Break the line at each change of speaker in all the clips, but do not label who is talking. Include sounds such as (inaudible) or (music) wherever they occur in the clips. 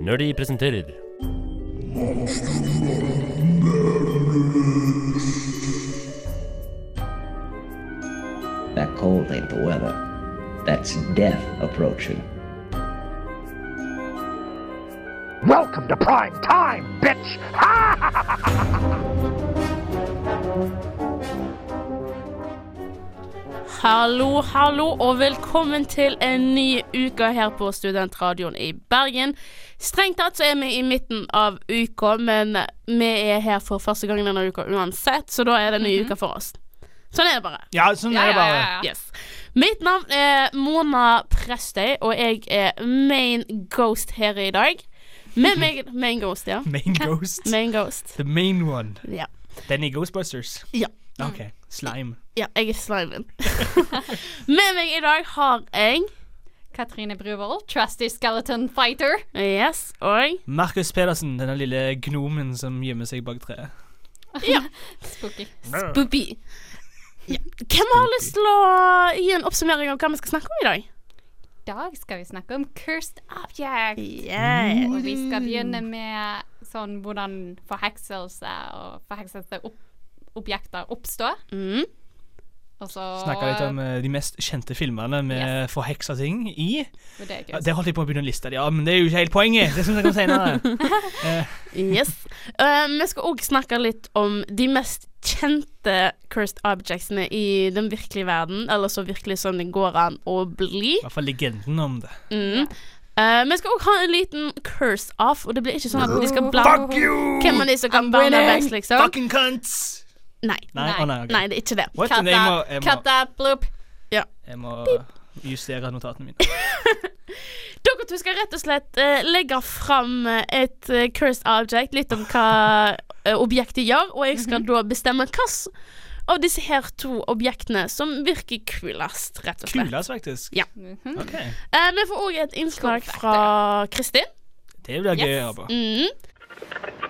Når de presenterer
That cold ain't the weather. That's death approaching.
Welcome to prime time, bitch!
Hallo, hallo, og velkommen til en ny uke her på Studentradioen i Bergen. Strengt tatt så er vi i midten av uka, men vi er her for første gang denne uka uansett, så da er det en
Mhm.
ny uke for oss. Sånn er det bare.
Ja, sånn er det bare.
Yes. Mitt navn er Mona Prestøy, og jeg er main ghost her i dag.
(laughs)
Med meg Main ghost, ja.
Main ghost.
Main ghost.
The main one.
Ja.
Den i Ghostbusters.
ja.
Mm.
Ok, slime.
Ja, jeg er
(laughs)
slimen. (laughs) Med meg i dag har jeg
Katrine Bruvoll, trusty skeleton fighter.
Yes, og
Markus Pedersen, denne lille gnomen som gjemmer seg bak treet.
Spooky.
Ah.
Bubi. Ja. Hvem har lyst til å gi en oppsummering av hva vi skal snakke om i dag?
I dag skal vi snakke om cursed object.
Yeah.
Og vi skal begynne med sånn hvordan forhekselse og forhekselse opp objekter oppstår.
Mm.
Og så
Snakker litt om eh, de mest kjente filmene med forheksa ting i.
Og Det er
Ja,
cursed.
Der holdt jeg på å begynne å liste de av, men det er jo ikke helt poenget. Det skal vi snakke om senere.
(laughs) Yes. Eh, vi skal òg snakke litt om de mest kjente cursed objectsene i den virkelige verden, eller så virkelig som det går an å bli.
I hvert fall legenden om det.
Mm. Eh, vi skal òg ha en liten curse off, og det blir ikke sånn at vi skal blande
Fuck you!
hvem av de som kan banne best, liksom.
Fucking cunts!
Nei.
Nei,
Nei.
å nei, ok.
Nei, det er ikke det.
What?
Cut
Nei, Jeg må,
that,
jeg
cut
må,
that, bloop.
jeg må justere
(laughs)
notatene mine.
Dere to skal rett og slett eh, legge fram eh, et eh, cursed object, litt om hva eh, objektet gjør, og jeg skal da bestemme hvilken av disse her to objektene som virker kulest, rett og slett.
Kulest, faktisk.
Ja.
Mhm.
Ok.
Eh, vi får òg et innslag fra Kristin.
Det blir gøy å
Yes.
høre på. (laughs)
Mm.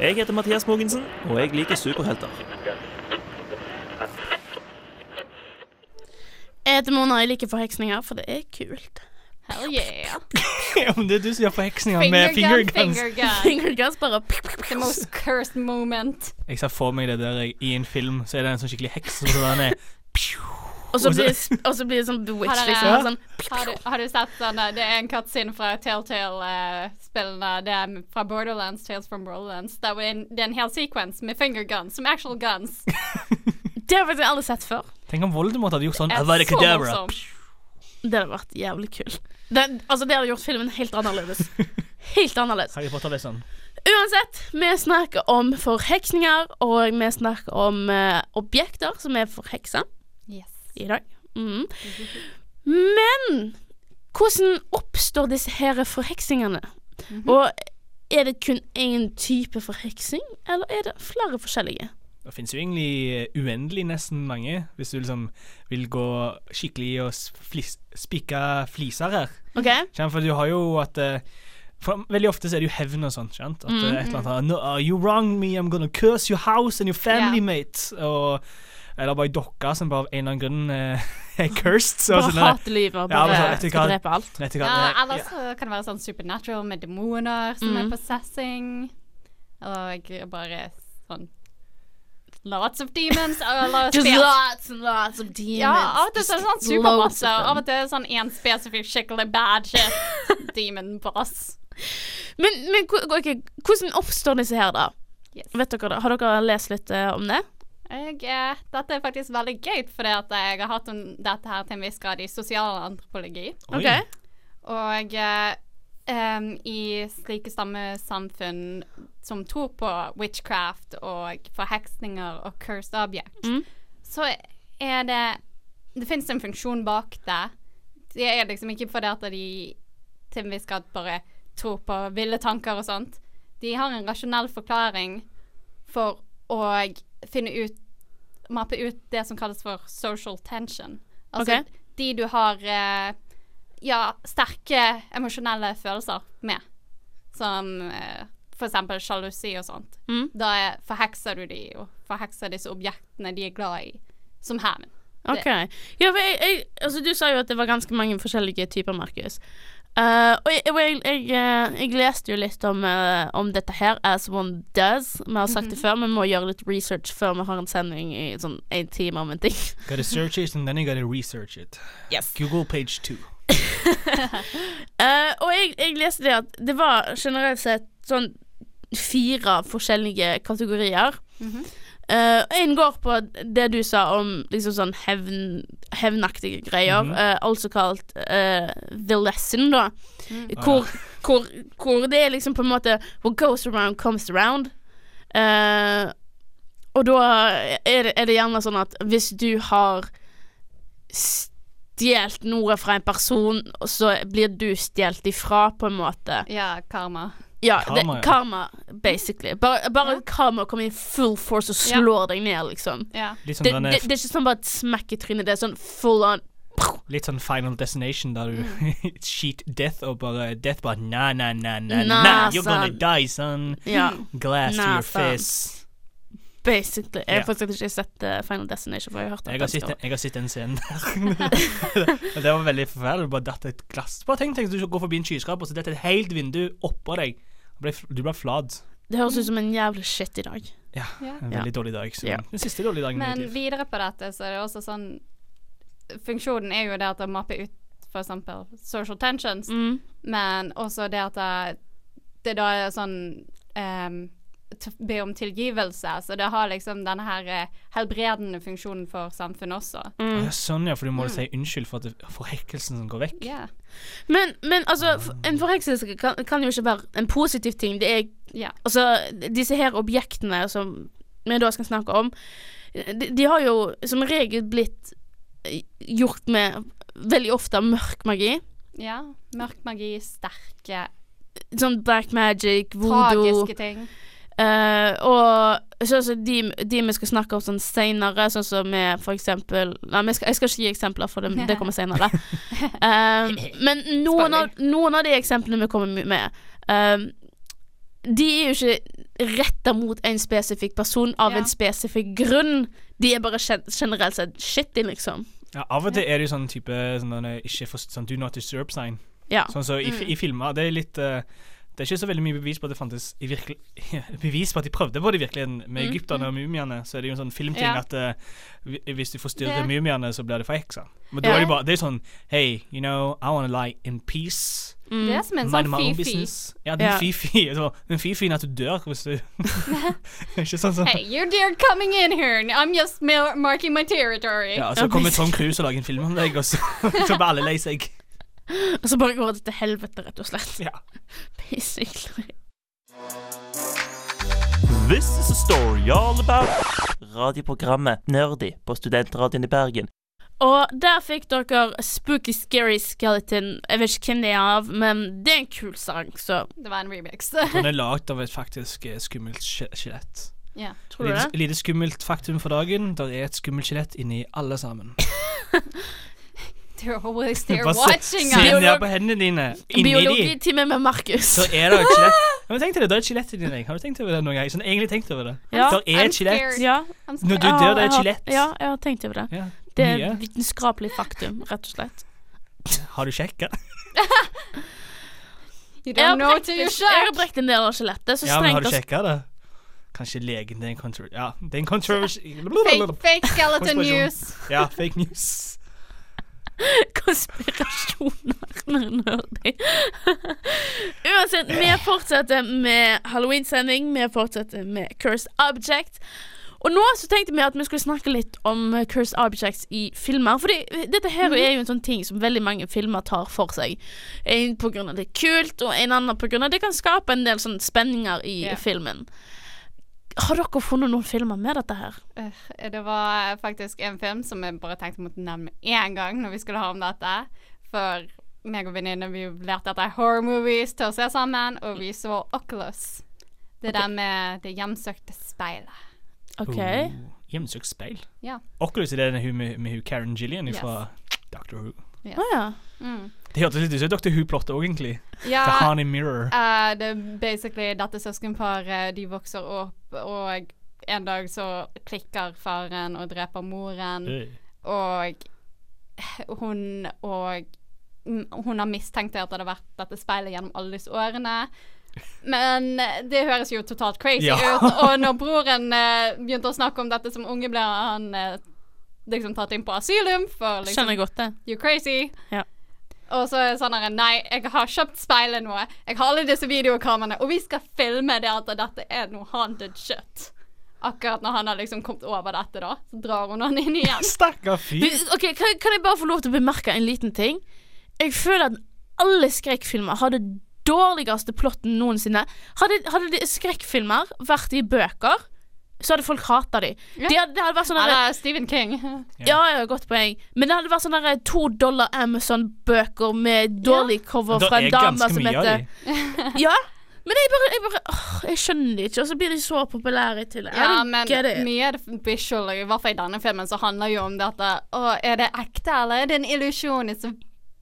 Jeg heter Mathias Mogensen, og jeg liker superhelter.
Jeg heter Mona, jeg liker forheksninger, for det er kult.
Hell yeah.
Om det er du som gjør forheksninger med
Finger gun,
fingerguns.
finger
(laughs)
gun.
Fingerguns bare
The most cursed moment.
Jeg ser for meg det der jeg, i en film, så er det en sånn skikkelig heks. Og sånn er
Og så blir det- og så blir det sånn bewitched,
Har dere-
liksom. Sånn,
Har du, har du sett sånne Det er en cutscene fra Telltale-spillene. eh, det er fra Borderlands, Tales from Borderlands. Det er en, det er en hel sequence med finger guns, som actual (laughs) guns.
det har jeg faktisk aldri sett før.
Tenk om Voldemort hadde gjort sånn.
Det er
Avada
så
Kedavra.
morsomt.
Det hadde vært jævlig kult. Det- altså, det hadde gjort filmen helt annerledes. (laughs) Helt annerledes.
Harry Potter ble sånn.
Uansett, vi snakker om forheksninger, og vi snakker om eh, objekter som er forheksa
Yes.
i dag. Mm. Men hvordan oppstår disse her forheksingene? Og er det kun én type forheksing, eller er det flere forskjellige?
Det finnes jo egentlig uendelig nesten mange, hvis du liksom vil gå skikkelig og s- flis, spikke fliser her.
OK?
Skjønner? For du har jo at eh, for Veldig ofte så er det jo hevn og sånt. Skjønt? At
Mhm,
eh, et eller annet no, uh, You wrong me, I'm gonna curse your house and your family,
Ja.
mate. Og, eller bare dokka som bare av en eller annen grunn eh, (laughs) er cursed. Så,
Bare
sånn, eh,
hate livet og
Ja,
bare
men så, vet du
skal
hva?
drepe alt.
vet du hva,
Ja,
eh,
ellers så kan det være sånn supernatural med demoner som er
Mhm.
possessing. Og bare sånn Lots of demons. og lots
(laughs)
of
Just
spells.
lots and lots of demons.
Ja, av og til så er det sånn
Just loads
supermasse,
of
og av
them.
og til er det sånn én spesifikk skikkelig bad shit.
(laughs)
Demon boss.
Men, men ko- ok, hvordan oppstår disse her, da?
Yes.
Vet dere det? Har dere lest litt eh, om det?
Jeg, eh, dette er faktisk veldig gøy, fordi at jeg har hatt en, dette her til en viss grad i sosialantropologi.
oi.
Ok.
Og eh, em, i slike stammesamfunn som tror på witchcraft og forheksninger og cursed object,
Mm.
så er det Det fins en funksjon bak det. Det er liksom ikke fordi at de til en viss grad bare tror på ville tanker og sånt. De har en rasjonell forklaring for å finne ut Mappe ut det som kalles for social tension. Altså
Ok.
de du har eh, ja, sterke emosjonelle følelser med. Som eh, for eksempel sjalusi og sånt.
Mm.
Da er, forhekser du de, og forhekser disse objektene de er glad i, som hevn.
OK. Ja, for jeg, jeg, altså, du sa jo at det var ganske mange forskjellige typer, Markus. Eh, og jeg, og jeg, jeg, eh, jeg leste jo litt om, eh, om dette her, as one does. Vi har sagt det før, vi må gjøre litt research før vi har en sending i sånn én time om en ting. (laughs)
Gotta search it, and then you gotta research it.
Yes.
Google page two.
Eh, og jeg, jeg leste det at det var generelt sett sånn fire forskjellige kategorier. Eh, en går på det du sa om liksom sånn hevn, hevnaktige greier, eh, altså kalt eh, the lesson, da. Hvor, hvor, hvor det er liksom på en måte What goes around comes around. Eh, og da er det, er det gjerne sånn at hvis du har stjålet noe fra en person, så blir du stjålet ifra, på en måte.
Ja, karma.
Ja,
Karma,
karma, det,
ja.
karma basically. Bare, bare karma kommer i full force og slår deg ned, liksom.
Ja.
Litt sånn,
Det,
denne-
det, det er ikke sånn bare et smekk i trynet, det er sånn full on
litt sånn Final Destination, der du (laughs) cheat death og bare Death bare Nah, nah, nah, nah,
Mm. Nah,
nah, you're gonna
son.
die, son.
Ja,
Glass to
Nah,
your
son.
face.
basically. Jeg
Ja.
har faktisk ikke sett eh, Final Destination, for jeg har hørt at
Jeg har,
den
sett,
skal-
jeg har sett
(laughs)
den scenen der. (laughs) Og det var veldig forferdelig. Du bare datt et glass. Bare tenk deg at du går forbi en skyskraper, og så detter et helt vindu oppå deg. Du ble, du ble flat.
Det høres ut som en jævlig shit i dag.
Ja.
Ja.
En
Ja.
veldig dårlig dag. Så.
Ja.
Den siste dårlige dagen i
Men
mitt liv.
videre på dette, så er det også sånn Funksjonen er jo det at å mappe ut for eksempel social tensions,
Mm.
men også det at det, det da er sånn ehm, t- Be om tilgivelse. Så det har liksom denne her eh, helbredende funksjonen for samfunnet også.
Mm.
Å, ja, Sånn, ja, for
Mm.
du må si unnskyld for, at det- for hekkelsen som går vekk.
Ja.
Men, men
Ah.
altså, f- en forhekselse kan, kan jo ikke være en positiv ting. Det er
Ja.
Altså, disse her objektene som vi da skal snakke om, de, de har jo som regel blitt eh, gjort med veldig ofte mørk magi.
ja. Mørk magi, sterke,
Sånn black magic, voodoo
tragiske ting.
eh, Og sånn som de, de vi skal snakke om sånn seinere, sånn som med for eksempel Nei, men jeg skal, jeg skal ikke gi eksempler, for det, det kommer
(laughs)
seinere. Um, men noen av, noen av de eksemplene vi kommer med, um, de er jo ikke retta mot en spesifikk person av
Ja.
en spesifikk grunn. De er bare gen generelt sett shitty, liksom.
Ja, av og til er det jo sånn type sånn, denne ikke for, sånn do not disturb-sign.
Ja.
Sånn så i, fi-
mm.
i filmer, det er litt eh, Det er ikke så veldig mye bevis på at det fantes i virkelig, (laughs) Bevis på at de prøvde på det i virkeligheten. Med egypterne og mumiene så er det jo en sånn filmting
Mm, Ja.
at eh, hvi- hvis du forstyrrer
Det-
mumiene, så blir det forheksa. Men da
Ja.
er det bare Det er sånn Hey, you know, I wanna lie in peace.
Mm.
Det er som en
Mind
sånn
my own
fy-fy.
business. Ja, den
Ja.
(laughs) fifi. så- Den fifien at du dør hvis
(laughs)
du (laughs) Ikke sånn sånn.
Hey, you dear coming in here. I'm just mar- marking my territory.
Ja, altså, så
Ja,
kommer
basically.
Tom Cruise og lager en film om deg, og (laughs) så, så blir alle lei seg.
Og så bare går det til helvete, rett og slett.
Ja.
(laughs) Basically.
This is a story all about radioprogrammet Nerdy på Studentradioen i Bergen.
Og der fikk dere Spooky Scary Skeleton. Jeg vet ikke hvem det er av, men det er en kul sang, så
Det var en remix.
Den er lagd av et faktisk eh, skummelt skje- skjelett.
(laughs) ja.
tror du
Lite,
det?
lite skummelt faktum for dagen. Der er et skummelt skjelett inni
(laughs)
alle sammen.
They're always there
Bare se,
watching
se
us.
ned på hendene dine. Inni de.
Biologitime med Markus.
Der er det et skjelett. Ja, men tenk til det, der er et skjelett inni deg. Har du tenkt over det noen gang? Sånn, egentlig tenkt over det.
Ja.
Der er
I'm
et skjelett.
scared.
(laughs) Ja,
I'm Oh,
Når
scared.
du dør, det er
jeg
et
har-
skjelett.
Ja, jeg har tenkt over det.
Ja,
Det er
mye.
et vitenskapelig faktum, rett og slett.
Har du sjekka?
You
Jeg har
don't know
brekt-
till you
jeg har
shot.
brekt en del av skjelettet, så
Ja, men har
strengt
du
tatt
sjekka det? Kanskje legen Det er en kontro... Ja, det er en kontrovers...
Fake, fake skeleton
Konspirasjon.
news.
Ja, fake news.
konspirasjoner (laughs) når en hører deg. Uansett, vi fortsetter med Halloween-sending. Vi fortsetter med Cursed Object. Og nå så tenkte vi at vi skulle snakke litt om eh, Cursed Objects i filmer. Fordi dette her er jo en sånn ting som veldig mange filmer tar for seg. En på grunn av det er kult, og en annen på grunn av det kan skape en del sånne spenninger i
Ja.
filmen. Har dere funnet noen filmer med dette her?
Øh, Det var faktisk en film som jeg bare tenkte jeg måtte nevne med én gang når vi skulle ha om dette. For meg og venninnen vi lærte at det er horror movies til å se sammen, og vi så Oculus. Det der med det hjemsøkte speilet.
OK.
Oh, Hjemsøkt speil.
Ja.
Oculus er det den hun med, med hun Karen Gillian fra Doctor Who.
Å ja.
Det hørtes litt ut som Doctor Who-plottet òg, egentlig.
Ja,
Ah.
The Honey Mirror.
eh, det er basically dette søskenparet. De vokser opp, og en dag så klikker faren og dreper moren.
Ah.
Øy.
Og hun og mm, Hun har mistenkt at det hadde vært dette speilet gjennom alle disse årene. Men eh, det høres jo totalt crazy
Ja.
ut. Og når broren eh, begynte å snakke om dette som unge, ble han eh, liksom tatt inn på asylum for liksom
Skjønner jeg godt det.
You crazy?
Ja.
Og så er det sånn her Nei, jeg har kjøpt speilet nå. Jeg har alle disse videokameraene, og vi skal filme det at dette er noe haunted shit. Akkurat når han har liksom kommet over dette, da, så drar hun han inn igjen.
Stakkar fyr.
Men, Ok, kan, kan jeg bare få lov til å bemerke en liten ting? Jeg føler at alle skrekkfilmer har det dårligste plotten noensinne. Hadde, hadde de skrekkfilmer vært i bøker, så hadde folk hata dem.
Ja.
Det, hadde- det hadde vært (laughs) sånn derre-
Eller Stephen King.
ja, ja, godt poeng. Men det hadde vært sånne derre to dollar Amazon-bøker med dårlig cover
Det
fra en
er
dame
ganske
som
mye av
heter
de.
Ja, men jeg bare, jeg, bare åh, jeg skjønner det ikke, og så blir de så populære til det.
Ja, men mye av det visual, i hvert fall i denne filmen, så handler jo om dette Å, er det ekte, eller er det en illusjon? It's a,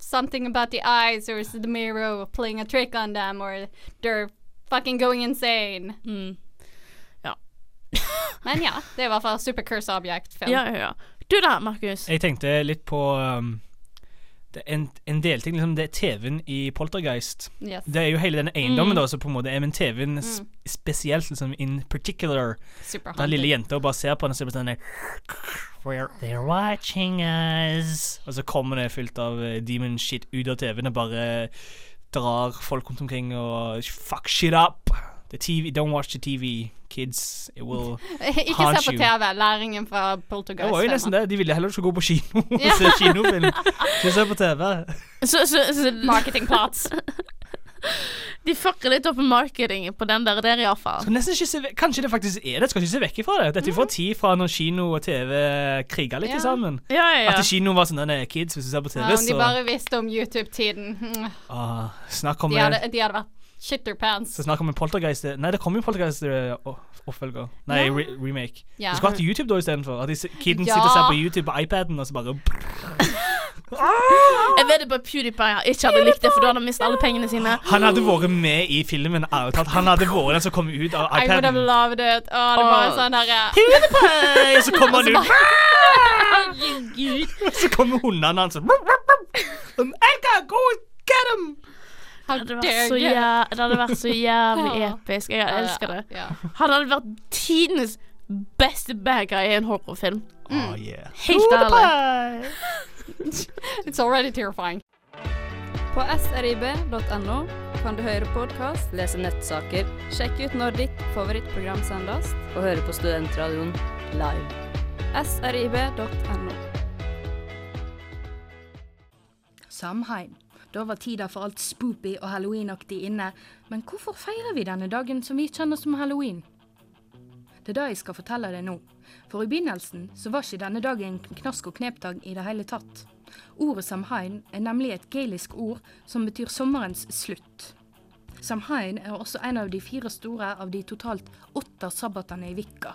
something about the eyes, or is it the mirror playing a trick on them, or they're fucking going insane?
Mm. Ja.
(laughs) Men ja, det er i hvert fall super curse object-film.
Ja, ja, ja. Du da, Markus.
Jeg tenkte litt på um, det er en, en delting. Liksom det er TV-en i Poltergeist.
Yes.
Det er jo hele denne eiendommen
Mm.
da, som på en måte er Men TV-en sp spesielt, liksom in particular.
Super
Den lille
haunted.
jenta og bare ser på den og så blir det sånn der, We're, They're watching us. Og så kommer det fullt av eh, demon shit ut av TV-en og bare drar folk rundt omkring og fuck shit up. The TV, don't watch the TV, kids. It
(laughs)
will
Ikke
Haunt
se på
you.
TV, læringen fra
Det
Poltergeist.
var jo nesten det. De ville heller ikke gå på kino (laughs)
Ja.
og se kinofilm. Ikke se på TV.
Så, så, så
(laughs)
Marketingplots.
de fucker litt opp med markedingen på den der, der iallfall.
Skal nesten ikke se ve Kanskje det faktisk er det? Skal ikke se vekk ifra det. Dette er fra tid fra når kino og TV kriga litt
Mm. Ja.
sammen.
Ja, ja,
At
ja.
i kino var sånn nei, kids, hvis du ser på TV,
Ja, om Um, de
så
bare visste om YouTube-tiden. Mm.
ah, Snakk om
De hadde, de hadde vært shitter pants.
Så snakk om en poltergeist øh, Nei, det kom jo en poltergeist eh, o- oppfølger. Nei, re remake.
Ja.
Du skulle hatt YouTube da istedenfor. At disse kiden
Ja.
sitter og ser på YouTube på iPaden, og så bare
Jeg vet det bare PewDiePie har ikke hadde likt det, for da hadde han mistet alle pengene sine.
Han hadde vært med i filmen. ærlig talt. Han hadde vært den som kom ut av
I would have
iPaden.
loved it. Å, det var
Åh.
sånn derre
PewDiePie! Så kommer han ut,
Herregud.
så kommer hundene hans og Edgar, go and get him!
How
Det, hadde vært
dare
så
you?
jæ det hadde vært så jævlig episk. Jeg
Ja,
elsker det.
Ja.
Han hadde vært tidenes beste bad guy i en horrorfilm.
Oh, yeah.
Helt ærlig.
It's already terrifying.
På srib.no kan du høre podkast, lese nettsaker, sjekke ut når ditt favorittprogram sendes, og høre på Studentradioen live. srib.no.
Samhain. Da var tida for alt spoopy og halloweenaktig inne, men hvorfor feirer vi denne dagen som vi kjenner som halloween? Det er det jeg skal fortelle deg nå, for i begynnelsen så var ikke denne dagen en knask og knepdag i det hele tatt. Ordet samhain er nemlig et gaelisk ord som betyr sommerens slutt. Samhain er også en av de fire store av de totalt åtte sabbatene i Vikka.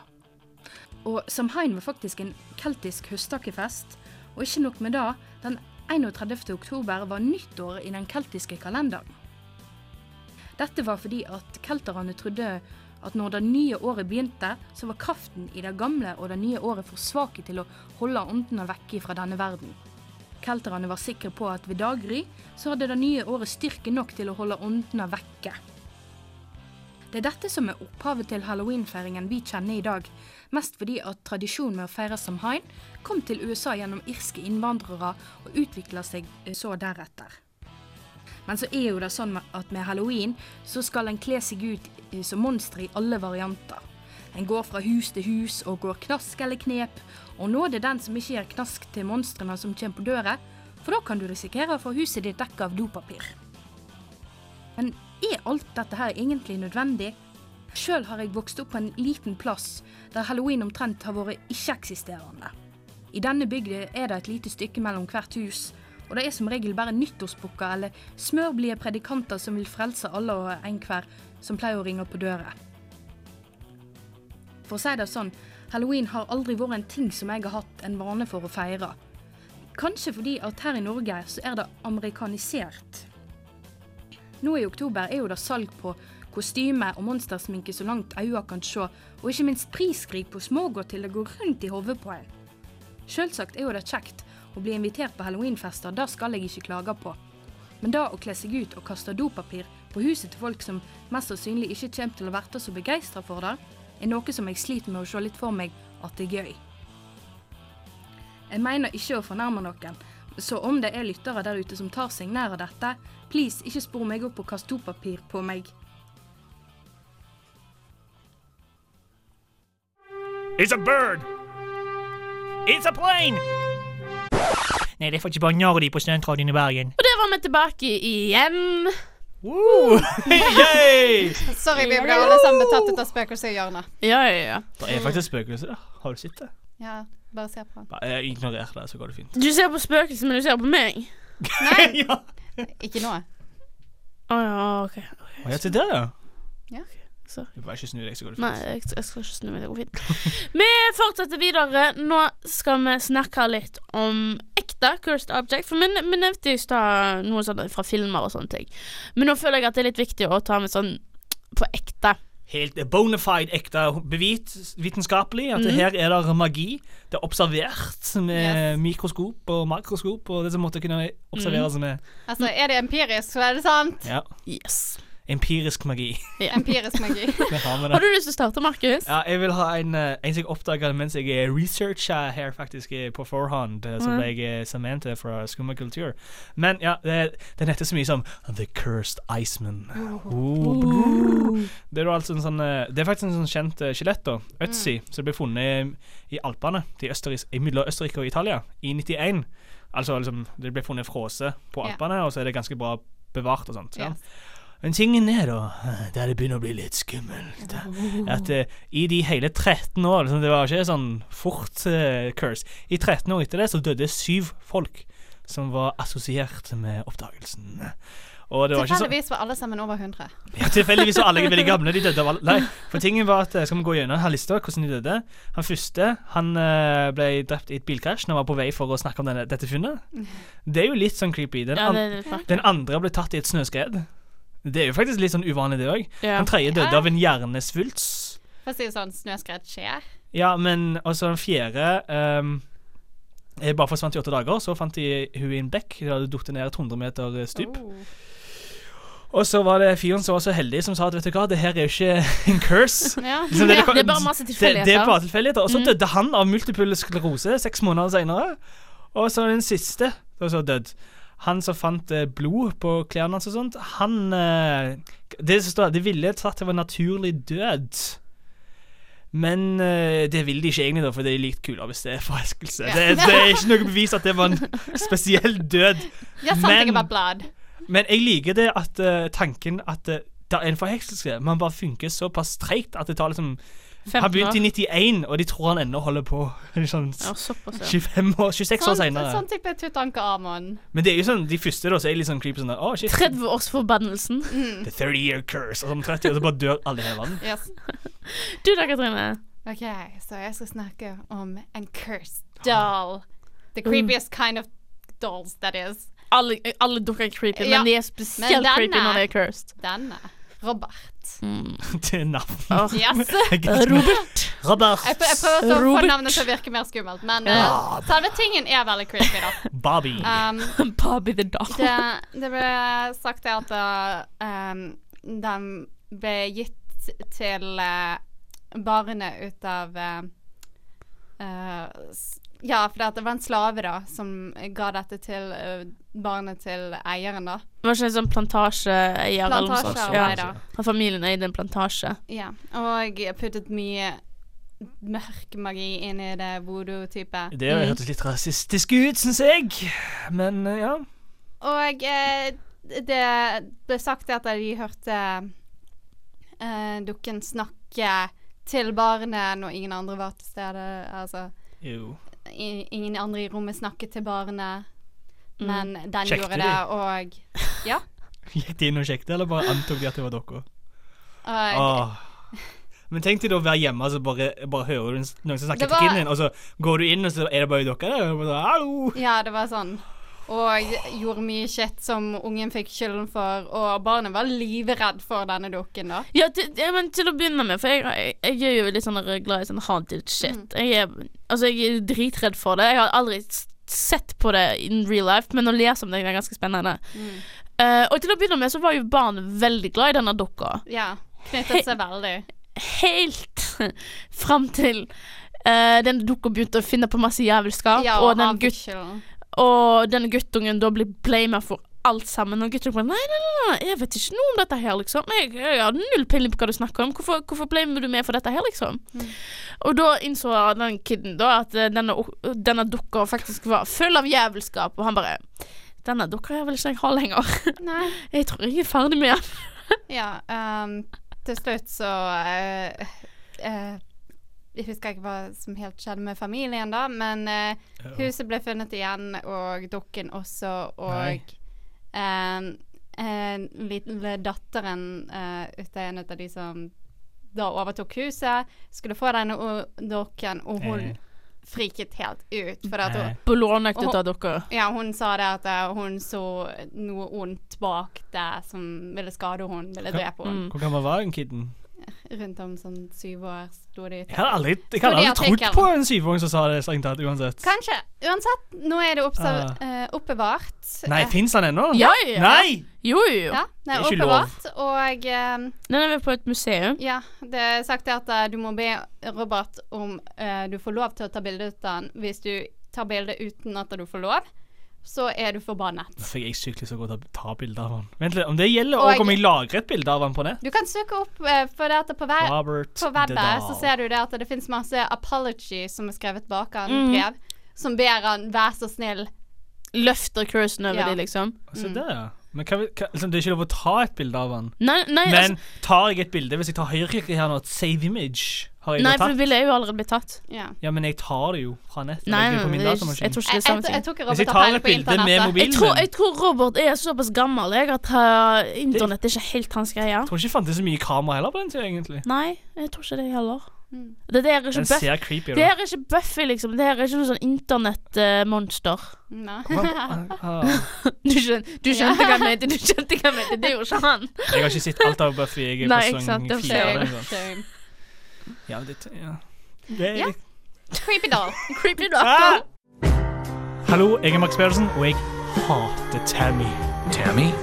Og Samhain var faktisk en keltisk høsttakkefest. Og ikke nok med det, den 31. oktober var nyttår i den keltiske kalenderen. Dette var fordi at kelterne trodde at når det nye året begynte, så var kraften i det gamle og det nye året for svake til å holde åndene vekke fra denne verden. Kelterne var sikre på at ved daggry så hadde det nye året styrke nok til å holde åndene vekke. Det er dette som er opphavet til halloweenfeiringen vi kjenner i dag, mest fordi at tradisjonen med å feire Samhain kom til USA gjennom irske innvandrere og utvikla seg eh, så deretter. Men så er jo det sånn med- at med halloween så skal en kle seg ut eh, som monstre i alle varianter. En går fra hus til hus og går knask eller knep, og nåde den som ikke gjør knask til monstrene som kommer på døra, for da kan du risikere å få huset ditt dekket av dopapir. Men er alt dette her egentlig nødvendig? Sjøl har jeg vokst opp på en liten plass der halloween omtrent har vært ikke-eksisterende. I denne bygda er det et lite stykke mellom hvert hus, og det er som regel bare nyttårsbukker eller smørblide predikanter som vil frelse alle og enhver som pleier å ringe på døra. For å si det sånn, halloween har aldri vært en ting som jeg har hatt en vane for å feire. Kanskje fordi at her i Norge så er det amerikanisert. Nå i oktober er jo det salg på kostyme og monstersminke så langt øya kan se, og ikke minst priskrig på smågodt til det går rundt i hodet på en. Selvsagt er jo det kjekt å bli invitert på halloweenfester, det skal jeg ikke klage på. Men det å kle seg ut og kaste dopapir på huset til folk som mest sannsynlig ikke kommer til å være så begeistra for det, er noe som jeg sliter med å se litt for meg at det er gøy. Jeg mener ikke å fornærme noen, så om det er lyttere der ute som tar seg nær av dette, please ikke spor meg opp og kast dopapir på meg.
It's a bird! It's a plane! Nei, det er faktisk bare Nardi på studentradioen i Bergen.
Og der var vi tilbake igjen.
Woo! Uh. (laughs) Yay!
Sorry, vi ble alle sammen betatt ut av spøkelset i hjørnet.
Ja, ja, ja.
Det er faktisk spøkelse der. Har du sett det?
Ja, bare se på han.
Nei, jeg ignorerer det, så går det fint.
Du ser på spøkelset, men du ser på meg.
(laughs) ja.
Ikke nå.
Å ja, OK.
Å, ja, se der, ja.
Ja.
Sorry.
Du bare ikke snu deg, så går det fint.
Nei, jeg, jeg skal ikke snu meg. Det går fint. (laughs) Vi fortsetter videre. Nå skal vi snakke litt om ekte Cursed Object. For vi, vi nevnte i stad noe sånt fra filmer og sånne ting. Men nå føler jeg at det er litt viktig å ta med sånn på ekte.
Helt eh, bona fide, ekte bevit, vitenskapelig. At det her er det magi. Det er observert med
Yes.
mikroskop og makroskop og det som måtte kunne observeres med
Altså,
Mm.
er det empirisk, så er det sant.
ja,
Yes.
empirisk magi. (laughs)
Empirisk
(laughs)
magi.
Det har vi det.
Har du lyst til å starte, Markus?
Ja, jeg vil ha en, eh, en som jeg oppdaget mens jeg eh, researchet her faktisk eh, på forhånd, eh, som ble jeg eh, Samantha fra Skumma Kultur. Men ja, det, den heter så mye som The Cursed Iceman. Oh. Det er jo altså en sånn eh, Det er faktisk en sånn kjent eh, skjelett, da. Ötzi, som ble funnet i Alpene til Østerrike, i mellom Østerrike og Italia i 91. Altså liksom, det ble funnet frosset på
Ja.
Alpene, og så er det ganske bra bevart og sånt. Ja.
Yes.
Men tingen er da, eh, der det begynner å bli litt skummelt, at eh, i de hele 13 år, liksom, det var ikke sånn fort eh, curse, i 13 år etter det så døde syv folk som var assosiert med oppdagelsen. Og det var ikke sånn,
Tilfeldigvis var alle sammen over 100.
ja, tilfeldigvis var alle veldig gamle, de døde av alle. Nei, for tingen var at, eh, skal vi gå gjennom her lista, hvordan de døde. Han første, han eh, ble drept i et bilkrasj når han var på vei for å snakke om denne, dette funnet. Det er jo litt sånn creepy. Den,
Ja,
an
det er litt merkelig.
den andre ble tatt i et snøskred. Det er jo faktisk litt sånn uvanlig, det òg.
Ja.
Den tredje døde
Ja.
av en hjernesvulst.
For å si det sånn, snøskred skjer.
Ja, men også den fjerde ehm, eh, bare forsvant i åtte dager. Så fant de hun i en bekk. De hadde falt ned et 100 meter eh, stup.
Oh.
Og så var det fyren som var så heldig, som sa at vet du hva, det her er jo ikke en curse.
Ja.
Liksom,
(laughs) Ja, det er bare masse tilfeldigheter.
Det, det er bare tilfeldigheter. Og så døde han av multiple sklerose seks måneder senere. Og så den siste som så død. Han som fant eh, blod på klærne hans og sånt, han eh, Det som står her, de ville tatt det var naturlig død. Men eh, det vil de ikke egentlig, da, for det er likt kulere hvis det er forelskelse. Det, det er ikke noe bevis at det var en spesiell død.
Ja, sant, jeg
Men-
er bare blad.
Men jeg liker det at eh, tanken at eh, det er en forhekselse. Man bare funker såpass treigt at det tar liksom Han
15 år.
begynte i 91, og de tror han ennå holder på. (laughs) Sånn
Ja, såpass, ja.
25 år, 26 år
Sånn,
senere.
sånn type Tutankhamon.
Men det er jo sånn, de første da, så er litt sånn creepy sånn der, Å, shit,
30-årsforbannelsen.
the 30 year curse. Og sånn 30 år, så bare dør alle i hele verden.
Yes.
Du da, Katrine.
OK, så jeg skal snakke om en cursed doll. The
Mm.
creepiest kind of dolls, that is.
Alle, alle dukker er creepy,
Ja.
men de er
Men
spesielt
denne-
creepy når de er cursed.
Denne. Robert.
(laughs) Til navn.
Yes.
Robert. (laughs)
Robert
Jeg, prø jeg prøver også å få
Robert.
navnet til å virke mer skummelt, men uh, selve tingen er veldig creepy, da.
Bobby.
Um,
Bobby the Doll.
det, det ble sagt det at uh, um, den ble gitt til uh, barnet ut av uh, uh, s- Ja, for det var en slave, da, som ga dette til uh, barnet til eieren, da.
Var ikke det sånn plantasjeeier eller noe sånt?
Plantasjearbeider.
Han familien eide en plantasje.
Ja. Og puttet mye mørk magi inn i det voodoo-type.
Det
Mm.
hørtes litt rasistisk ut, syns jeg. Men eh, ja.
Og eh, det ble sagt at de hørte eh, dukken snakke til barnet når ingen andre var til stede. Altså,
Jo.
i, ingen andre i rommet snakket til barnet,
Mm.
men den
Sjekket
gjorde
de?
det, og Ja.
Gikk de inn og sjekket, eller bare antok de at det var dere?
Og
Ah.
Åh. Men tenk deg da å være hjemme, og så bare, bare hører du noen som snakker
Det var-
til kiden din, og så går du inn, og så er det bare dere der. og bare, Hallo!
Ja, det var sånn Og gjorde mye shit som ungen fikk skylden for, og barnet var livredd for denne dukken, da.
Ja, til, ja, men til å begynne med, for jeg, jeg, jeg er jo litt sånn der glad i sånn haunted shit. Jeg, er, altså, jeg er dritredd for det. Jeg har aldri s- sett på det in real life, men å lese om det er ganske spennende. Eh, og til å begynne med så var jo barn veldig glad i denne dukka.
Ja.
(laughs)
Knyttet seg veldig.
Helt (laughs) fram til eh, den dukka begynte å finne på masse jævelskap,
Ja,
og, den
han fikk
gutt,
skylden.
og den guttungen da blir blama for alt sammen. Og guttungen bare nei, nei, nei, nei, jeg vet ikke noe om dette her, liksom. Jeg, jeg har null peiling på hva du snakker om. Hvorfor, hvorfor blamer du meg for dette her, liksom?
Mm.
Og da innså den kiden da at eh, denne, o- denne dukka faktisk var full av jævelskap, og han bare denne dukka her vil ikke jeg ha lenger. (laughs)
Nei.
Jeg tror jeg er ferdig med
(laughs)
den.
Ja, ehm, til slutt så eh, eh, Jeg husker ikke hva som helt skjedde med familien da, men eh, huset ble funnet igjen, og dukken også,
Nei.
og ehm, en lille datteren eh, ut av en av de som da overtok huset, skulle få denne o- dukken, og hun
Eh.
friket helt ut. For at hun,
Eh.
Blånektet
Og-
av dukka.
ja, hun sa det at eh, hun så noe ondt bak det som ville skade henne, ville drepe
Mm.
henne.
Hvor gammel var hun kiden?
Rundt om sånn syv år sto det
Jeg
ute.
hadde aldri, jeg
Står
hadde
det i
aldri trodd
artikkelen?
på en syvåring som sa det, strengt tatt, uansett.
Kanskje. Uansett, nå er det oppsa- eh,
Ah.
oppbevart. Eh,
Nei, fins han ennå?
Ja, ja, ja.
Nei!
Jo, jo, jo.
Ja, det er
Det er ikke lov.
oppbevart, og eh,
Den er vel på et museum.
ja, det er sagt det at eh, du må be Robert om eh, du får lov til å ta bilde ut av den. Hvis du tar bilde uten at du får lov, så er du forbannet.
Da fikk jeg sykt lyst til å gå og ta- ta bilde av han. Vent litt, om det gjelder
Og-
og om jeg lagrer et bilde av han på nett?
Du kan søke opp, eh, for det at på hver
Robert
på webbet
Dedal.
så ser du det at det finnes masse apology som er skrevet bak han brev, som ber han vær så snill.
Løfter cursen over
Ja.
de, liksom.
Se Altså, der, ja. Men hva, hva, liksom, det er ikke lov å ta et bilde av han.
Nei, nei,
Men
altså,
tar jeg et bilde Hvis jeg tar høyreklikket her nå, et save image, har jeg
nei
da
for du
tatt?
ville jo allerede blitt tatt.
Ja.
Ja, men jeg tar det jo fra nettet.
Nei,
legger det
nei,
på min
det er ikke- jeg tror ikke
datamaskin.
Jeg,
det er
jeg,
samme ting.
jeg tror ikke
Hvis jeg
Robert
tar
har peiling
et
på
bilde med
internettet.
mobilen
Jeg tror,
min
jeg tror Robert er såpass gammel jeg, at uh, internett er ikke helt hans greie.
Jeg tror ikke det fantes så mye kamera heller på den tida, egentlig.
Nei, jeg tror ikke det heller. Det der er ikke
Den
Buffy,
ser creepy ut.
det her er ikke Buffy liksom. Det her er ikke noe sånn internettmonster.
Nei. (laughs)
Jeg
Du, skjøn, du skjønte hva jeg mente, du skjønte hva jeg mente. Det gjorde ikke han.
har ikke sett alt av Buffy. Jeg er
Nei,
på
ikke sant,
sesong
det
fire.
ser jeg.
eller noe sånt.
Same.
Ja, men det, ja. Det er,
Ja. Creepy doll.
Creepy
Ah,
doll.
Hallo, jeg er Max Pedersen, og jeg hater Tammy.
Tammy?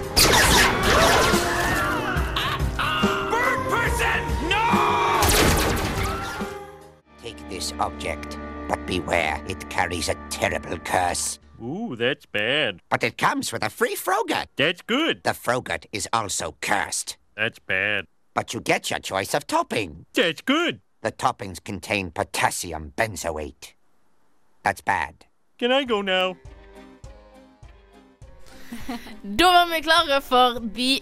Take this object, but beware, it carries a terrible curse.
Ooh, that's bad.
But it comes with a free frogut.
That's good.
The frogut is also cursed,
That's bad.
but you get your choice of topping.
That's good.
The toppings contain potassium benzoate. That's bad.
Can I go now?
Da var vi klare for The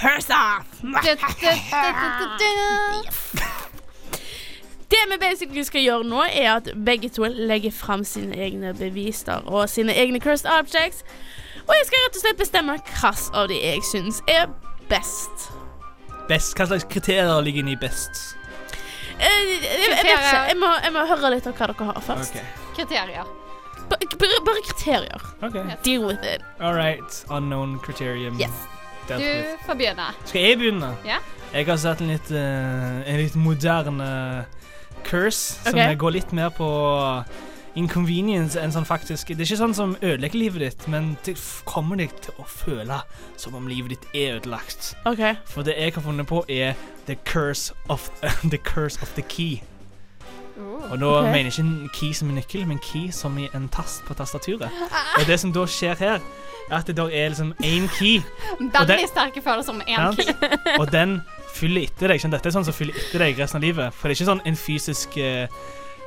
Curser.
Du, du, du, du, du, du.
(laughs) Det vi basically skal gjøre nå, er at begge to legger fram sine egne bevis der, og sine egne cursed objects. Og jeg skal rett og slett bestemme hvilken av de jeg syns er best.
Best, hva slags kriterier ligger inne i best?
Eh, Jeg, jeg, jeg vet ikke. Jeg må, jeg må høre litt av hva dere har først.
Kriterier.
Ba- Bare, bare kriterier.
Ok.
Deal with it.
All right. Unknown criterium.
Yes.
Dealt
Du
with.
får begynne.
Skal jeg begynne?
Ja.
Jeg har sett en litt, eh, en litt moderne eh, curse, som
Ok.
går litt mer på inconvenience enn sånn faktisk Det er ikke sånn som ødelegger livet ditt, men det f- kommer deg til å føle som om livet ditt er ødelagt.
OK.
For det jeg har funnet på, er The Curse of (laughs) the, curse of the Key. Og nå
Oh, Ok.
mener jeg ikke en key som en nøkkel, men key som i en tast på tastaturet. Og det som da skjer her, er at det der er liksom én key,
Veldig sterke følelser om én
sant?
key.
og den fyller etter deg. Sånn, dette er sånn som fyller etter deg resten av livet. For det er ikke sånn en fysisk eh,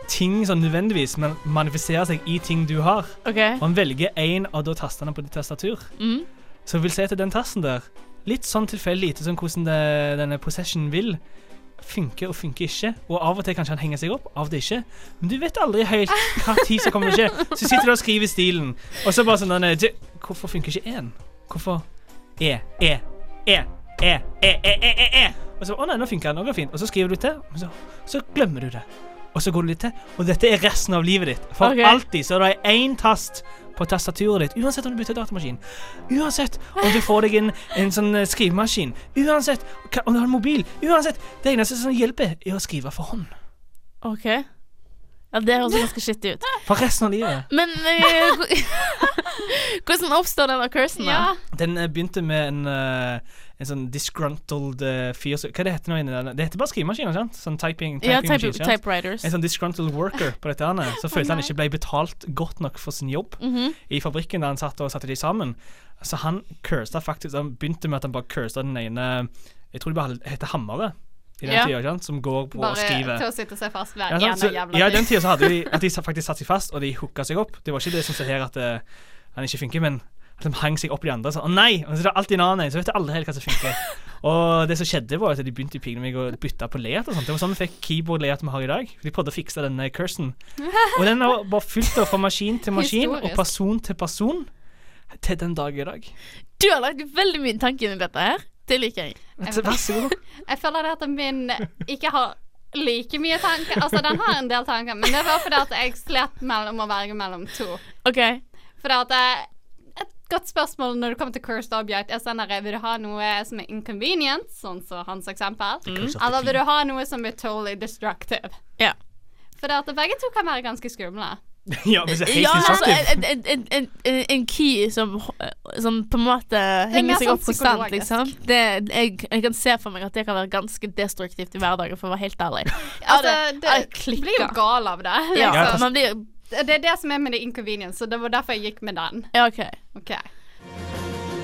ting sånn nødvendigvis, men manifiserer seg i ting du har.
ok.
Og han velger én av da tastene på ditt tastatur.
Mm.
Så vil si at den tasten der, litt sånn tilfeldig etter sånn hvordan det, denne possession vil, funker og funker ikke. Og av og til kanskje han henger seg opp, av og til ikke. Men du vet aldri helt hva tid som kommer til å skje. Så sitter du og skriver stilen, og så bare sånn denne, «Du, Hvorfor funker ikke én? Hvorfor E, E, E, E, E, E, E, E, E. Og så, å nei, nå funker den, nå går det fint. Og så skriver du til, og så, så glemmer du det. Og så går du litt til, og dette er resten av livet ditt. For
Ok.
alltid så er det én tast på tastaturet ditt, uansett om du bytter datamaskin, uansett om du får deg en, en sånn eh, skrivemaskin, uansett hva- om du har en mobil, uansett Det eneste som hjelper, er å skrive for hånd.
OK. Ja, det høres ganske skittig ut.
For resten av livet.
Men eh, (laughs) hvor- hvordan oppstår denne cursen, da?
Ja.
Den eh, begynte med en, eh, en sånn disgruntled eh, fyr som- Hva det heter det nå? inne der? Det heter bare skrivemaskiner, sant? Sånn typing,
Ja,
typingmaskin,
type,
sant?
typewriters.
En sånn disgruntled worker på dette her,
(laughs)
så følte han ikke ble betalt godt nok for sin jobb
Mhm.
i fabrikken der han satt og satte de sammen. Så han cursa faktisk Han begynte med at han bare cursa den ene Jeg tror det bare heter Hammere i den
Ja.
tida, ikke sant? Som går på å
Bare
skrive.
til å sitte seg fast hver
Ja, sant?
ene
Så,
jævla
ja, i den tida så hadde de at de sa- faktisk satt seg fast, og de hooka seg opp. Det var ikke det som så her at eh, han ikke funker, men at de hang seg opp i de andre. Sånn, å nei! Og så er det alltid en annen en, så vet jeg aldri helt hva som funker. og det som skjedde, var at de begynte i pilen meg å bytte på layout og sånt. Det var sånn vi fikk keyboard-layout vi har i dag. De prøvde å fikse denne cursen. Og den har bare fulgt da fra maskin til maskin, og
Historisk.
person til person, til den dag i dag.
Du har lagt veldig mye tanke inn i dette her. Det liker jeg.
Så Vær så god. (laughs)
Jeg føler det at min ikke har like mye tanker. Altså, den har en del tanker, men det var fordi at jeg slet mellom å velge mellom to.
OK.
Fordi at jeg, Et godt spørsmål når det kommer til cursed object, er sånn her Vil du ha noe som er inconvenient, sånn som hans eksempel? Eller vil du ha noe som er totally destructive?
Ja.
Fordi at begge to kan være ganske skumle.
ja, hvis jeg er helt
Ja, altså,
instruktiv.
en, en, en, en, en- en key som, som på en måte
mer
henger seg
sånn
opp konstant,
psykologisk.
liksom. Det, jeg, jeg kan se for meg at det kan være ganske destruktivt i hverdagen, for å være helt ærlig. (laughs)
Altså,
Ja, det-
det,
jeg klikker.
blir jo gal av det. liksom.
Ja, altså,
Ja,
man blir
Det det er det som er med det inconvenience, så det var derfor jeg gikk med den.
Ja, OK.
Ok.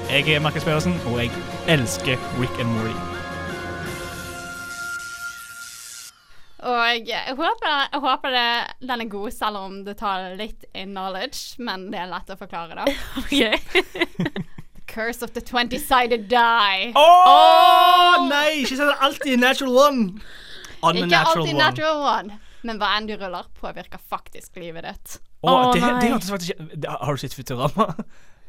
Jeg er Markus Pedersen, og jeg elsker Rick and Morty.
Og jeg håper, jeg håper det, den er god, selv om det tar litt in knowledge, men det er lett å forklare,
(laughs)
da.
(laughs) Ok.
Curse of the 20-sided die.
Å nei! Ikke si det alltid natural one. I'm
Ikke alltid natural one, men hva enn du ruller, påvirker faktisk livet ditt.
Å,
Å,
det,
nei.
det hørtes faktisk ikke det, Har du sett Futurama? (laughs)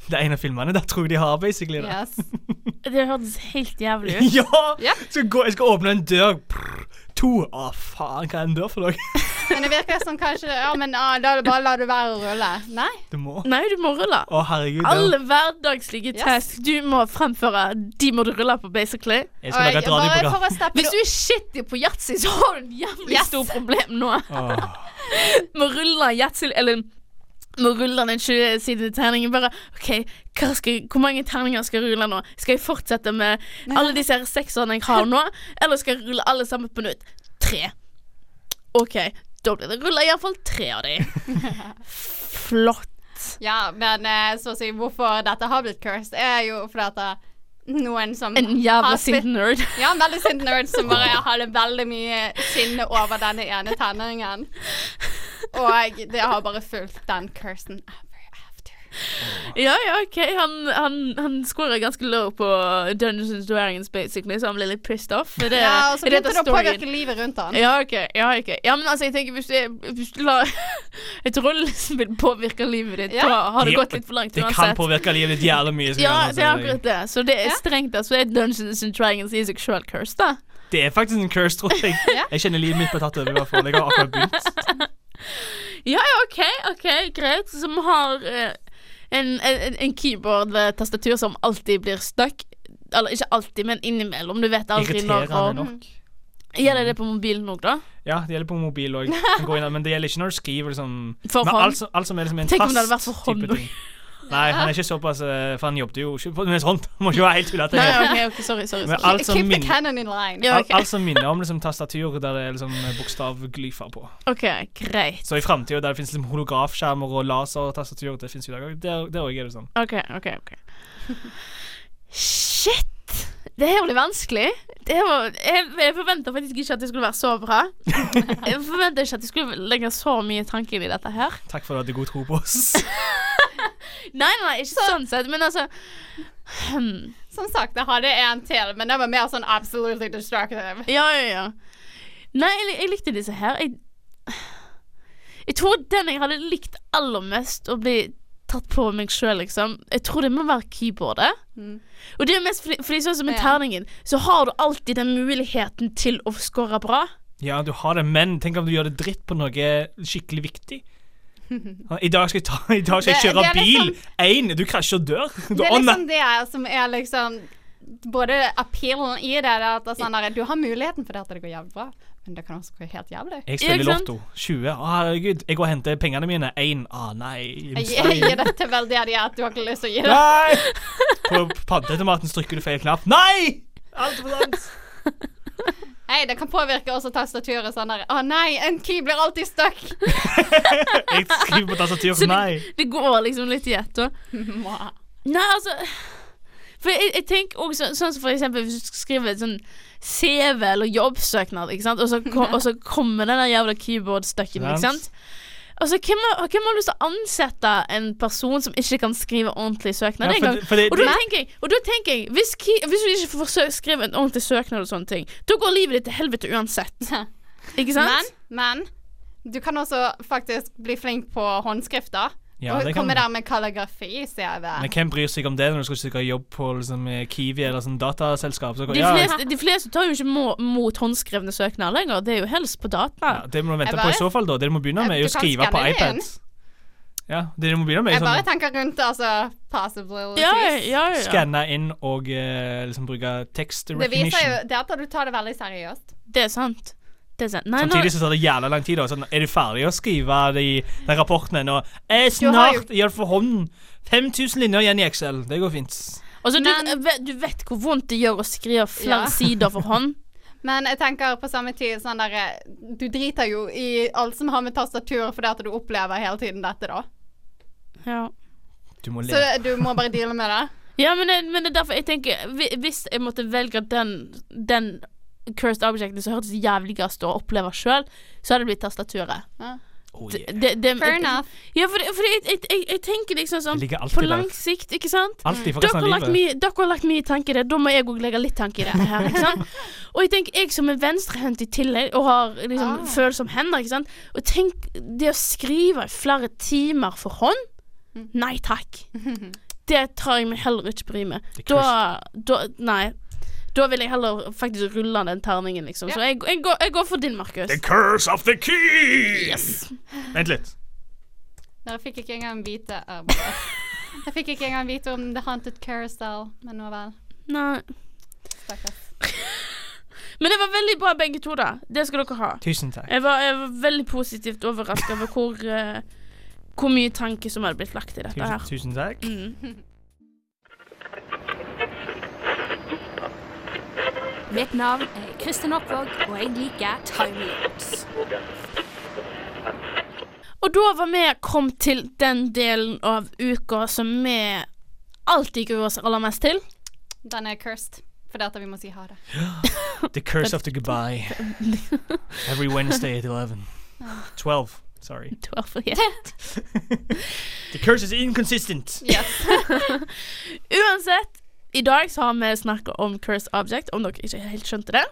Det er en av filmene. Der tror jeg de har basically det.
Yes.
Det hørtes helt jævlig ut.
(laughs) Ja!
Ja.
Skal gå, jeg skal åpne en dør. Prr, to. Å, faen, hva er en dør for noe? (laughs)
Men det virker som kanskje Ja, men ah, da bare lar du være å rulle. Nei.
Du må Å,
Nei, du må rulle.
herregud. det-
Alle hverdagslige
Yes.
tasks du må fremføre, de må du rulle på, basically.
Jeg
Og
skal lage
jeg-
et
bare
radioprogram.
for å steppe
Hvis du er shitty på yatzy, så har du en jævlig
Yes.
stort problem nå.
Åh.
Må rulle yatzy Eller må rulle den 20-sidede terningen. Bare OK, hva skal, hvor mange terninger skal jeg rulle nå? Skal jeg fortsette med alle disse her sekserne jeg har nå, eller skal jeg rulle alle sammen på nytt? Tre. OK, da blir det rulla iallfall tre av (laughs) de. Flott.
Ja, men eh, så å si hvorfor dette har blitt cursed, er jo fordi at eh, noen som
En jævla
har spilt-
sint nerd.
Ja, en veldig sint nerd som bare hadde veldig mye sinne over denne ene tenåringen. Og det har bare fulgt den cursen ever after.
Ja, ja, ok. Han, han, han scorer ganske low på Dungeons and Dragons, basically, så han blir litt pissed off. Er det,
Ja, og så
er dette
begynte det å
Eh, storyen? Eh,
påvirke livet rundt han.
Ja, OK. Ja, ok. ja, men altså, jeg tenker hvis du, hvis du lar (laughs) et rollespill påvirke livet ditt,
Ja.
da har det
Ja,
gått litt for langt
Det kan
uansett.
påvirke livet ditt altså. jævlig mye. skal jeg
Ja,
gjerne si
det er
deg.
akkurat det. Så det er
Ja.
strengt tatt så er Dungeons and Dragons i seg sjøl cursed, da.
Det er faktisk en curse, tror jeg.
Ja.
Jeg kjenner livet mitt blir tatt over. i hvert fall. Jeg har akkurat begynt.
Ja, ja, OK, ok, greit. Som har eh, en, en, en keyboard ved tastatur som alltid blir stuck. Eller ikke alltid, men innimellom. Du vet aldri når å
Irriterende nok.
Gjelder det på mobilen òg, da?
Ja, det gjelder på mobil òg.
(laughs)
Men det gjelder ikke når du skriver liksom
For
Men
hånd?
alt, som- alt som er liksom en
Tenk om
fast
det hadde vært for hånd.
type ting. Nei, han er ikke såpass eh, For han jobbet jo ikke på med sånt. Han (laughs) må ikke være helt tullete.
Nei, OK, ok, sorry. sorry,
Men
sorry.
alt som,
Keep the
min,
cannon in line.
altså Ja,
alt,
ok.
alt som minner om liksom, tastatur der det er liksom, bokstavglyfer på.
OK, greit.
Så i framtida der det fins liksom, holografskjermer og lasertastatur, det fins jo i dag òg. Der der også er det sånn.
OK, OK. ok Shit! Det her blir vanskelig. Det var, jeg jeg forventa faktisk ikke at det skulle være så bra. Jeg forventa ikke at jeg skulle legge så mye tanke inn i dette her.
Takk for at du hadde god tro på oss.
(laughs) Nei, nei, nei, ikke sånn sett, men altså hmm.
Som sagt, jeg hadde en til, men den var mer sånn absolutely destructive.
Ja, ja, ja. Nei, jeg, li- jeg likte disse her. Jeg, jeg tror den jeg hadde likt aller mest å bli tatt på meg sjøl, liksom Jeg tror det må være keyboardet. Og det er mest fordi, fordi sånn som med
Ja.
terningen, så har du alltid den muligheten til å score bra. (laughs)
Ja, du har det, men tenk om du gjør det dritt på noe skikkelig viktig. I dag skal jeg, ta, i dag skal jeg
Det-
kjøre
det er
bil!
liksom-
Én! Du krasjer og dør. Du,
Det er
å, nei.
liksom det som er liksom både appealen i det, det er at det er sånn der, du har muligheten for det at det går jævlig bra, men det kan også gå helt jævlig.
Jeg
Ikke
spiller
sant?
Lotto. 20. Å, herregud. Jeg går og henter pengene mine. Én. Å, nei.
Jeg
Investerer.
jeg gir det til veldedige at du har ikke lyst til å gi det.
Nei!
(laughs)
På paddeautomaten trykker du feil knapp. Nei! Alt for langt.
Nei, det kan påvirke også tastaturet sånn der Å nei, en key blir alltid stuck!
(laughs) Jeg skriver på tastatur.
Så
Nei.
det, det går liksom litt i ett, da.
Mwah.
Nei, altså For jeg, jeg tenker også sånn som for eksempel hvis du skal skrive et sånn CV eller jobbsøknad, ikke sant, og så, ko- og så kommer den der jævla keyboard-stucken, ikke
Mhm. Sant.
sant. Altså, hvem, har, hvem har lyst til å ansette en person som ikke kan skrive ordentlig søknad
Ja, for
engang?
det- for det-
Og, da
det-
tenker jeg- og da tenker jeg hvis, key, hvis du ikke får sø- skrive en ordentlig søknad og sånne ting, da går livet ditt til helvete uansett. Ikke sant?
Men, men du kan også faktisk bli flink på håndskrifter.
Ja,
og
det kan
komme
du.
der med kalligrafi, sier
Men
jeg.
hvem bryr seg om det når du skal søke jobb på liksom, Kiwi eller sånn dataselskap? Så, går-
de,
ja,
fleste, de fleste tar jo ikke må, mot håndskrevne søknader lenger. Det er jo helst på data.
ja, det må du vente
Jeg
på
bare-
i så fall, da. Det du må begynne med, er å
Du kan
skrive på
skanne det
iPad.
inn.
Ja, det du må begynne med,
Jeg
er
bare
sånn
tenker rundt altså, possibilities.
Ja, ja, ja.
skanne inn og eh, liksom bruke tekst
Det viser jo
recognition.
det er at du tar det veldig seriøst.
Det er sant. Det er sant. Nei, nå,
Samtidig så tar det jævla lang tid. da. Sånn, er du ferdig å skrive de, de rapportene nå? Eh,
Du har jo-
snart! Gjør det for hånden. 5000 linjer igjen i Excel. Det går fint.
altså,
Men-
du, ve- du vet hvor vondt det gjør å skrive flere
Ja.
sider for hånd.
(laughs) Men jeg tenker på samme tid sånn der Du driter jo i alt som har med tastatur, fordi at du opplever hele tiden dette, da.
Ja.
Du må
Så
le.
du må bare deale med det.
Ja, men, det- men det er derfor jeg tenker hvi- Hvis jeg måtte velge den, den cursed objecten som hørtes jævligst å oppleve sjøl, så hadde det blitt tastaturet.
Oh,
Det,
yeah.
det, det,
(laughs) Fair enough.
Ja, for, det- for det- jeg, jeg, jeg, jeg tenker liksom sånn
Det ligger alltid
På
der.
lang sikt, ikke sant?
Alltid for
Dere
resten
har,
av
lagt
livet.
mye, dere har lagt mye tanke i det, da må jeg òg legge litt tanke i det. her, ikke sant? Og jeg tenker, jeg som er venstrehendt i tillegg, og har liksom
Ah.
følsomme hender, ikke sant Og tenk, det å skrive i flere timer for hånd
Mhm.
Nei takk. Det tar jeg meg heller ikke bry med.
Det er
Da, da Nei. Da vil jeg heller faktisk rulle den terningen, liksom. Så jeg, jeg, går, jeg går for din, Markus.
curse of the key! Vent litt.
Dere fikk ikke engang vite (laughs) eh, bare. Jeg fikk ikke engang vite om The Haunted Carousel, men nå vel.
Nei.
Stakkars.
(laughs) Men det var veldig bra, begge to, da. Det skal dere ha.
Tusen takk.
Jeg var, jeg var veldig positivt overrasket over hvor, eh, hvor mye tanke som hadde blitt lagt i dette her.
Tusen, tusen takk.
Mm.
Mitt navn er Kristin Oppvåg, og jeg liker timelapse.
Og da var vi kommet til den delen av uka som vi alltid gruer oss aller mest til.
Den er cursed, fordi at vi må si ha det.
The curse of the
(laughs)
goodbye. Every Wednesday at 11.
Ah.
12. Sorry.
Du har fri.
The curse is inconsistent.
(laughs) Uansett, i dag så har vi snakket om Cursed Object, om dere ikke helt skjønte det.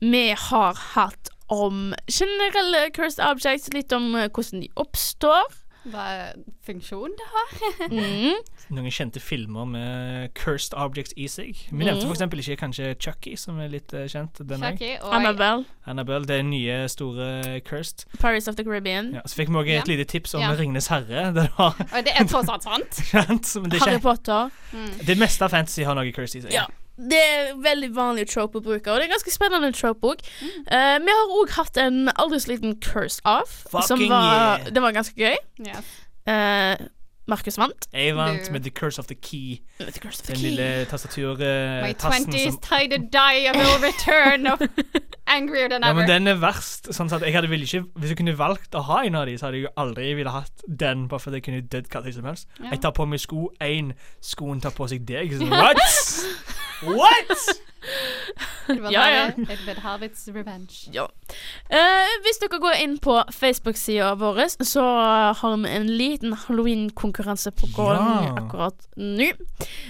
Vi har hatt om generelle Cursed Objects, litt om eh, hvordan de oppstår.
Hva er funksjonen det har? (laughs)
Mm.
Noen kjente filmer med cursed objects i seg.
Mm.
Vi nevnte for eksempel ikke kanskje Chucky, som er litt eh, kjent. Den er.
Chucky og
Annabelle,
Annabelle, det er nye, store cursed.
Pirates of the Caribbean.
Ja, så fikk vi også et
Ja.
lite tips om
Ja.
Ringnes herre. (laughs) Det, var,
Og det er tross alt sant.
sant, men det, er
Harry
ikke,
Potter.
det meste av fantasy har noe cursed i seg.
Ja. Det er veldig vanlig trope å bruke, og det er en ganske spennende trope òg.
Mm.
vi har òg hatt en aldri så liten curse off, som
Fucking
var,
yeah.
det var ganske gøy.
(laughs) Yes.
Eh, Markus vant.
Jeg vant
Du-
med The Curse of the Key.
The curse of the
Den
key.
lille
My
tastaturtassen Eh, som
20s try to die, I will return
(laughs)
of angrier than
Ja,
ever.
men den er verst. Sånn at jeg hadde ville ikke, hvis jeg kunne valgt å ha en av de, så hadde jeg jo aldri ville hatt den, bare fordi jeg kunne dødd hva tid som helst. Jeg tar på meg sko én, skoen tar på seg deg. Sånn, what?! What?!
Det var
Ja, ja.
bare It would have its revenge.
Ja. Eh, hvis dere går inn på Facebook-sida vår, så har vi en liten halloween-konkurranse på gang
Ja.
akkurat nå.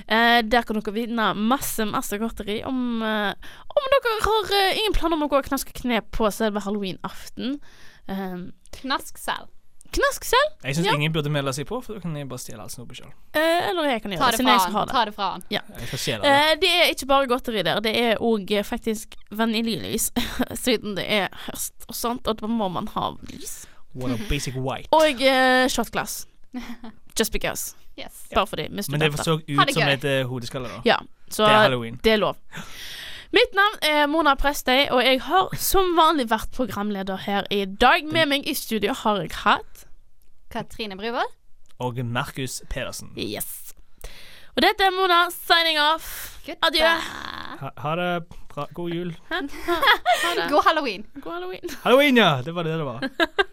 Eh, der kan dere vinne masse, masse godteri om eh, Om dere har eh, ingen planer om å gå og knaske kne på selve halloweenaften. Eh,
Knask selv.
knask selv,
Jeg syns
Ja.
ingen burde melde seg på, for da kan jeg bare stjele all snopet sjøl.
eh, eller jeg kan
Ta
gjøre det, siden
det fra
jeg
han.
som har det.
Ta det fra han.
Jeg skal stjele det.
Eh, det er ikke bare godteri der, det er eh, òg (laughs) faktisk vaniljelys, siden det er høst og sånt, og da må man ha lys.
What a basic white.
Og eh,
(laughs)
shotglass. Just because.
Yes.
Bare fordi. vi er
Men det
studenter.
så
Ha
ut
det
som
gøy.
et eh, hodeskalle, da.
Ja, så
Det er halloween.
det er lov. Mitt navn er Mona Prestøy, og jeg har som vanlig vært programleder her i dag. Med meg i studio har jeg hatt
Katrine Bruvoll.
Og Markus Pedersen.
Yes. Og dette er Mona signing off. Adjø.
Ha, ha det bra. God jul.
God halloween.
God halloween.
Halloween, ja! Det var det det var.